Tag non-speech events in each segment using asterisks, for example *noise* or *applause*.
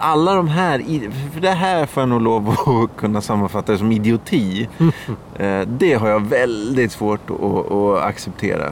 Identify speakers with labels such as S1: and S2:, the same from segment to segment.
S1: Alla de här, i- för det här får jag nog lov att *laughs* kunna sammanfatta det som
S2: *laughs*
S1: idioti. Eh, Det har jag väldigt svårt att, att acceptera.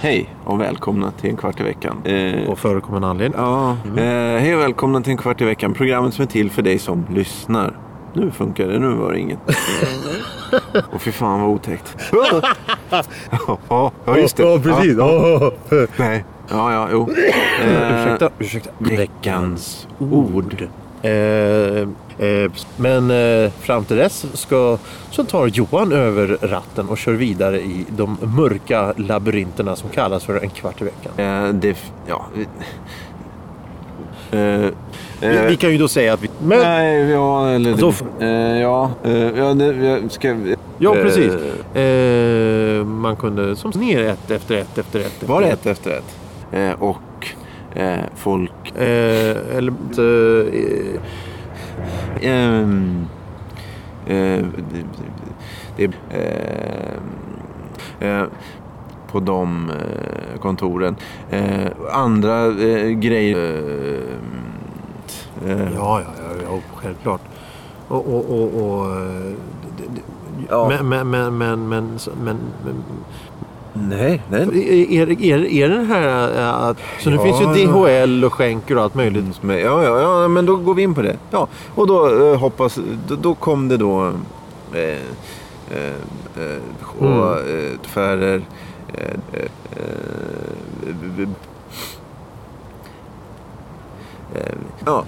S1: Hej och välkomna till en kvart i veckan. Eh,
S2: På förekommande anledning.
S1: Ja, eh, hej och välkomna till en kvart i veckan. Programmet som är till för dig som lyssnar. Nu funkar det, nu var det
S2: *laughs*
S1: inget. och fy fan vad otäckt. *laughs* Ja, ja, just det.
S2: Ja, precis. Ja.
S1: Nej. Ja, ja, jo. Eh,
S2: Ursäkta, ursäkta.
S1: Veckans ord.
S2: Eh, eh, men eh, fram till dess ska, så tar Johan över ratten och kör vidare i de mörka labyrinterna som kallas för en kvart i veckan.
S1: Eh, det... Ja. Eh,
S2: Vi,
S1: eh,
S2: vi kan ju då säga att vi... Men,
S1: Nej, ja, eller...
S2: Då f-
S1: eh, ja, eh, ja, det, jag ska...
S2: ja,
S1: eh,
S2: precis. Eh, man kunde som ner ett efter ett efter ett.
S1: Var det
S2: efter
S1: ett efter ett? Eh, och eh, folk...
S2: Eh, eller... Eh, eh,
S1: Ehm, eh, det, det, ehm, eh, på de eh, kontoren. Eh, andra eh, grejer... Eh, eh,
S2: Ja, ja, ja, ja självklart. Och, och, och, och eh, det- det-
S1: Ja.
S2: Men, men, men, men, men, så- men, men
S1: Nej, nej.
S2: är, är, är den här eh, att, så nu
S1: Ja,
S2: finns ju
S1: ja.
S2: DHL och skänker och allt möjligt.
S1: hos mig. Ja, ja, ja, men då går vi in på det. Ja, och då eh, hoppas... Då, då kom det då... Eh, eh, eh, och, eh, affärer... Eh, eh, eh, b- b- eh, ja.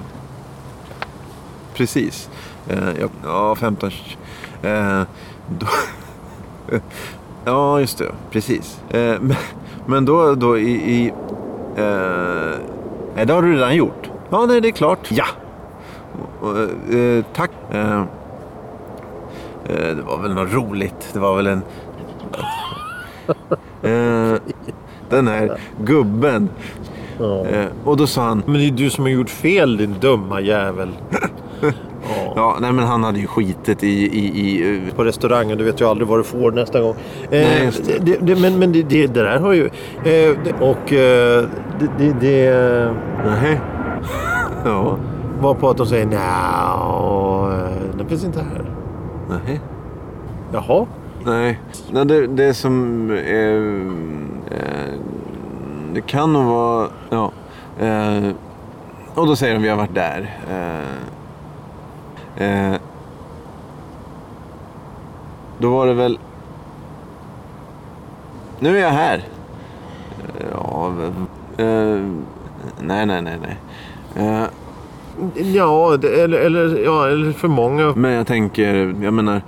S1: Precis. Eh, ja, ja, 15... Eh, då, *laughs* ja, just det. Precis. Eh, men, men då, då i... i eh, nej, det har du redan gjort. Ja, nej, det är klart. Ja! Och, eh, eh, tack. Eh, eh, det var väl något roligt. Det var väl en... Eh, den här gubben. Eh, och då sa han...
S2: Men det är du som har gjort fel din dumma *laughs* jävel. ja.
S1: Ja, nej men han hade ju skitit i... i, i eh,
S2: På restaurangen, du vet ju aldrig vad du får nästa gång. Eh,
S1: Nej, just det.
S2: det, det, men men det, det, det där har ju... Eh, det, och eh, det... det, det
S1: nej. ja,
S2: Varpå att de säger nja, den finns inte här.
S1: nej.
S2: Jaha?
S1: Nej, Nej det, det som... Eh, eh, det kan nog vara... Ja. Eh, och då säger de vi har varit där. Eh, eh, då var det väl... Nu är jag här. Eh, Ja, v- eh, nej, nej, nej, nej. Eh,
S2: Ja, det, eller, eller, ja, eller för många.
S1: men jag tänker, jag menar,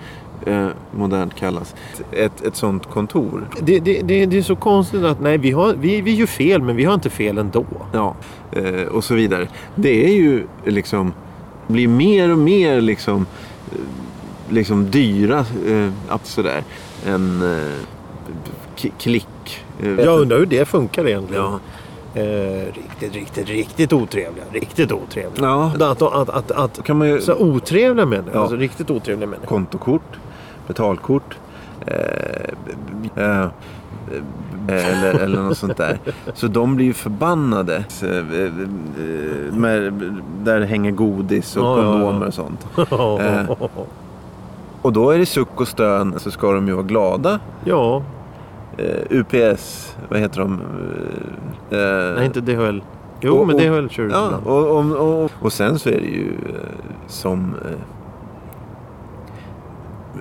S1: eh, modernt kallas. Ett, ett sånt kontor.
S2: Det, det, det, det är så konstigt att nej, vi, har, vi, vi gör fel, men vi har inte fel ändå.
S1: Ja, eh, och så vidare. Det är ju liksom, blir mer och mer liksom, eh, liksom dyra eh, att sådär. En eh, k- klick. Eh,
S2: Jag undrar hur det funkar egentligen.
S1: Ja.
S2: Eh, riktigt, riktigt, riktigt otrevliga. Riktigt otrevliga.
S1: Ja.
S2: Att, att, att, att
S1: kan man ju...
S2: så här otrevliga människor,
S1: Ja.
S2: alltså riktigt otrevliga
S1: *laughs*
S2: människor.
S1: Kontokort, betalkort. Eh, b- b- eh, eh, eller, eller något sånt där. Så de blir ju förbannade. Så, eh, eh, Med, där det hänger godis och
S2: Ja, ja, ja.
S1: kondomer och sånt. Eh. Och då är det suck och stön så ska de ju vara glada.
S2: ja,
S1: Eh, UPS, vad heter de? Eh, eh,
S2: nej inte DHL. Jo,
S1: och-
S2: men
S1: och-
S2: DHL kör ut
S1: ja,
S2: ibland.
S1: och, och, och, och sen så är det ju eh, som... Eh,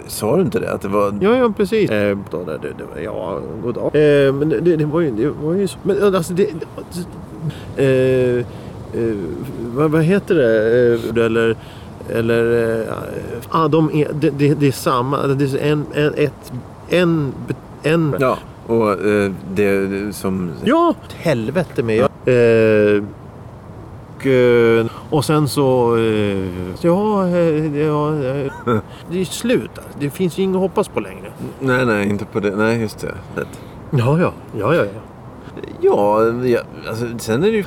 S1: sa du inte det? Att det var...
S2: Ja, ja precis. Eh, då, det, det, det, ja, god dag. Eh, men det, det var ju... Det var ju så, men alltså det... det eh, eh, vad, vad heter det? Eh, eller... Eller... Eh, ah, de är, det, det, det är samma. Det är en... En... Ett, en, en
S1: Ja, och eh, det som...
S2: Ja! Helvete med. Eh, *laughs* och, eh, och sen så... Eh, ja, eh, ja, eh, Det är ju slut. alltså. Det finns ju inget att hoppas på längre.
S1: Nej, nej, inte på det. Nej, just det. Rätt.
S2: Ja, ja. ja, ja, ja.
S1: Ja, ja alltså, sen är det ju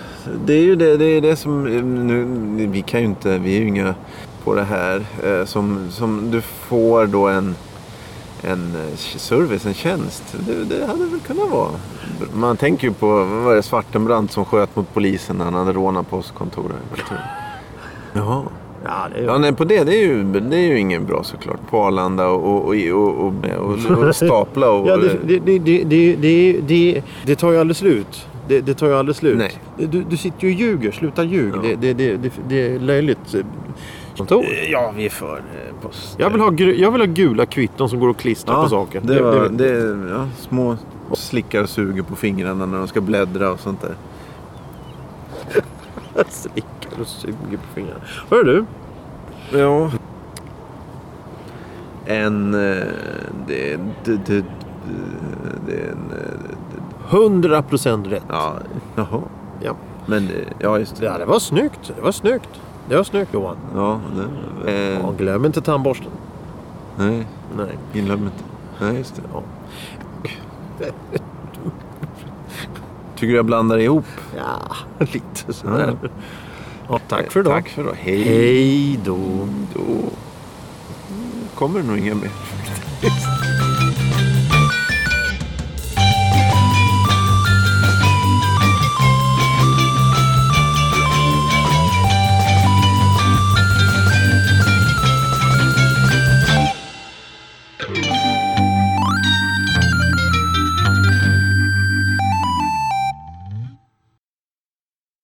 S1: det, är ju det, det, är det som... eh, Nu, vi kan ju inte... Vi är ju inga på det här. Eh, som, som du får då en, en eh, service, en tjänst. Det, det hade väl kunnat vara. Man tänker ju på vad var det, Svartenbrandt som sköt mot polisen när han hade rånat postkontoret. Jaha.
S2: Ja, det är ju...
S1: Ja, nej, på det, det är ju, det är ju ingen bra såklart. På Arlanda och, och, och, och, och, och stapla och...
S2: Ja, det, det, det, det, det, det, det, det tar ju aldrig slut. Det, det tar ju aldrig slut.
S1: Nej.
S2: Du, du sitter ju och ljuger. Sluta ljug.
S1: Ja.
S2: Det, det, det, det, det är löjligt.
S1: Kontor.
S2: Ja, vi är för
S1: eh,
S2: post. Jag vill, ha, gru- jag vill ha gula kvitton som går att klistra på saker.
S1: Det var, det, ja, små och slickar och suger på fingrarna när de ska bläddra och sånt där.
S2: *laughs* Slickar och suger på fingrarna. Hör du?
S1: Ja. En... eh, Det... det, det, det är en... eh,
S2: 100% rätt.
S1: Ja, jaha.
S2: Ja.
S1: Men, eh, ja just
S2: Det, här,
S1: det.
S2: det var snyggt. Det var snyggt. Det var snyggt Johan.
S1: Ja, det, eh,
S2: Ja, glöm inte tandborsten.
S1: nej.
S2: Mm. Nej.
S1: Glöm inte. Nej, just det.
S2: Ja.
S1: Tycker du jag blandar ihop?
S2: Ja, *laughs* lite sådär.
S1: Ja.
S2: Ja, tack för idag.
S1: Tack för idag. Hej.
S2: Hej då.
S1: Då kommer det nog inga mer.